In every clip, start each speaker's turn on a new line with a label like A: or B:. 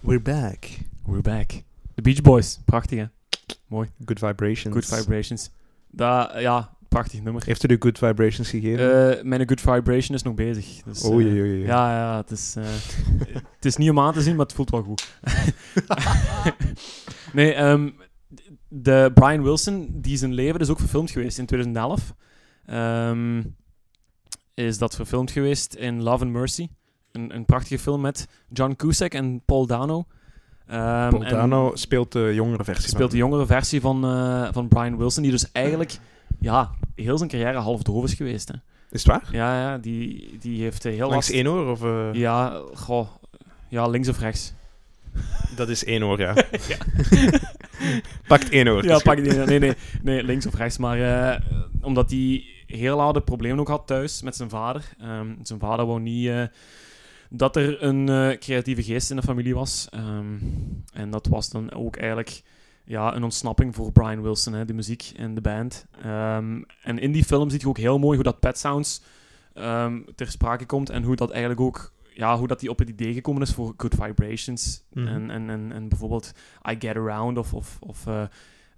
A: We're back.
B: We're back. The Beach Boys. Prachtig, hè?
A: Good Vibrations.
B: Good Vibrations. Dat, ja, prachtig nummer.
A: Heeft u de Good Vibrations gegeven?
B: Eh, mijn Good Vibration is nog bezig. Dus,
A: Oei,
B: eh,
A: oei, oei.
B: Ja, ja, het is, eh, het is niet om aan te zien, maar het voelt wel goed. nee, ehm, de Brian Wilson, die zijn leven is ook verfilmd geweest in 2011. Ehm, is dat verfilmd geweest in Love and Mercy. Een, een prachtige film met John Cusack en Paul Dano. Ehm,
A: Paul
B: en-
A: Dano speelt de jongere versie
B: speelt de
A: van.
B: jongere versie van, eh, van Brian Wilson, die dus eigenlijk ja, heel zijn carrière half doof is geweest. Hè.
A: Is het waar?
B: Ja, ja die, die heeft eh, heel
A: Langs
B: last...
A: één oor? Of, eh?
B: Ja, goh, ja, links of rechts.
A: Dat is één oor, ja. Pakt één oor.
B: Ja, pak die. Nee, nee, nee, links of rechts. Maar eh, omdat hij heel oude problemen ook had thuis met zijn vader. Ehm, zijn vader wou niet eh, dat er een eh, creatieve geest in de familie was. Ehm, en dat was dan ook eigenlijk ja, een ontsnapping voor Brian Wilson, hè, de muziek en de band. Ehm, en in die film zie je ook heel mooi hoe dat Pet Sounds ehm, ter sprake komt en hoe dat eigenlijk ook. Ja, hoe dat hij op het idee gekomen is voor Good Vibrations.
A: Mhm.
B: en, en, en, en bijvoorbeeld I Get Around of, of, of eh,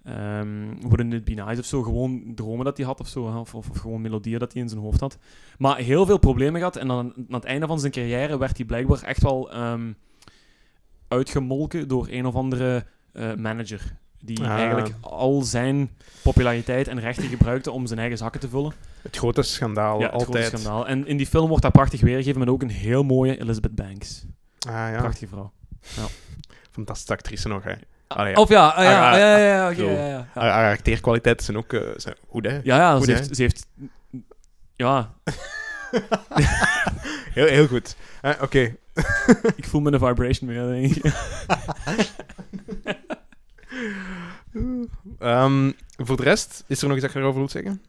B: Ehm Wouldn't It Be Nice of zo. Gewoon dromen dat hij had of zo. hè, Of, of, of gewoon melodieën dat hij in zijn hoofd had. Maar heel veel problemen gehad. En dan, aan het einde van zijn carrière werd hij blijkbaar echt wel ehm, uitgemolken door een of andere eh, manager. Die
A: Ah.
B: eigenlijk al zijn populariteit en rechten gebruikte om zijn eigen zakken te vullen.
A: Het grote schandaal,
B: ja, het grote
A: altijd.
B: schandaal. En in die film wordt dat prachtig weergegeven met ook een heel mooie Elizabeth Banks.
A: Ah ja,
B: Prachtige vrouw.
A: fantastische actrice nog, hè. Allee, ja.
B: Of ja, ah, ja,
A: Ah,
B: ja,
A: ja,
B: ja, ja, oké,
A: bedoel,
B: ja, ja, ja.
A: Haar- Haar acteerkwaliteiten zijn ook eh, zijn goed, hè.
B: Ja, ja,
A: Goed,
B: ze
A: hè?
B: heeft, ze heeft... Ja,
A: Heel, heel goed. Eh, Oké.
B: Ik voel me een vibration meer, denk ik.
A: Ehm, voor de rest, is er nog iets dat je erover wilt zeggen?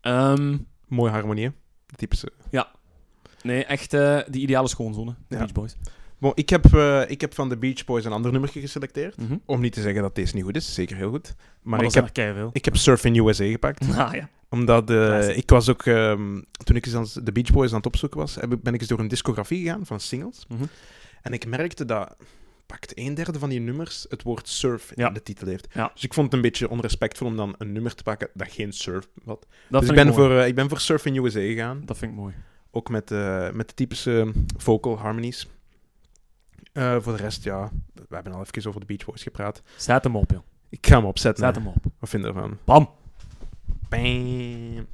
B: Ehm,
A: Mooie harmonie, hè. De typische.
B: nee, echt eh die ideale schoonzone. De
A: Ja.
B: Beach Boys.
A: Bon, ik, heb, eh, ik heb van de Beach Boys een ander nummertje geselecteerd.
B: Mhm. Maar,
A: Om niet te zeggen dat deze niet goed is, zeker heel goed. Maar,
B: dat
A: ik,
B: zijn
A: heb,
B: er keiveel.
A: ik heb Surf in USA gepakt.
B: Ah, ja.
A: Omdat eh,
B: Classic.
A: ik was ook, ehm, toen ik eens aan de Beach Boys aan het opzoeken was, heb ik- ben ik eens door een discografie gegaan van singles.
B: Mhm.
A: En ik merkte dat pakt een derde van die nummers het woord surf
B: Ja.
A: in de titel heeft.
B: Ja.
A: Dus ik vond het een beetje onrespectvol om dan een nummer te pakken dat geen surf had.
B: Dat,
A: dus ik
B: vind ik
A: ben, eh,
B: mooi.
A: voor, eh, ik ben voor Surf in USA gegaan.
B: dat vind ik mooi.
A: Ook met, eh, met de typische vocal harmonies. Eh, voor de rest, ja, we hebben al even over de Beach Boys gepraat.
B: Zet hem op, joh.
A: Ik ga hem opzetten.
B: Zet
A: hè.
B: hem op.
A: Wat vind je ervan?
B: Bam.
A: Bam.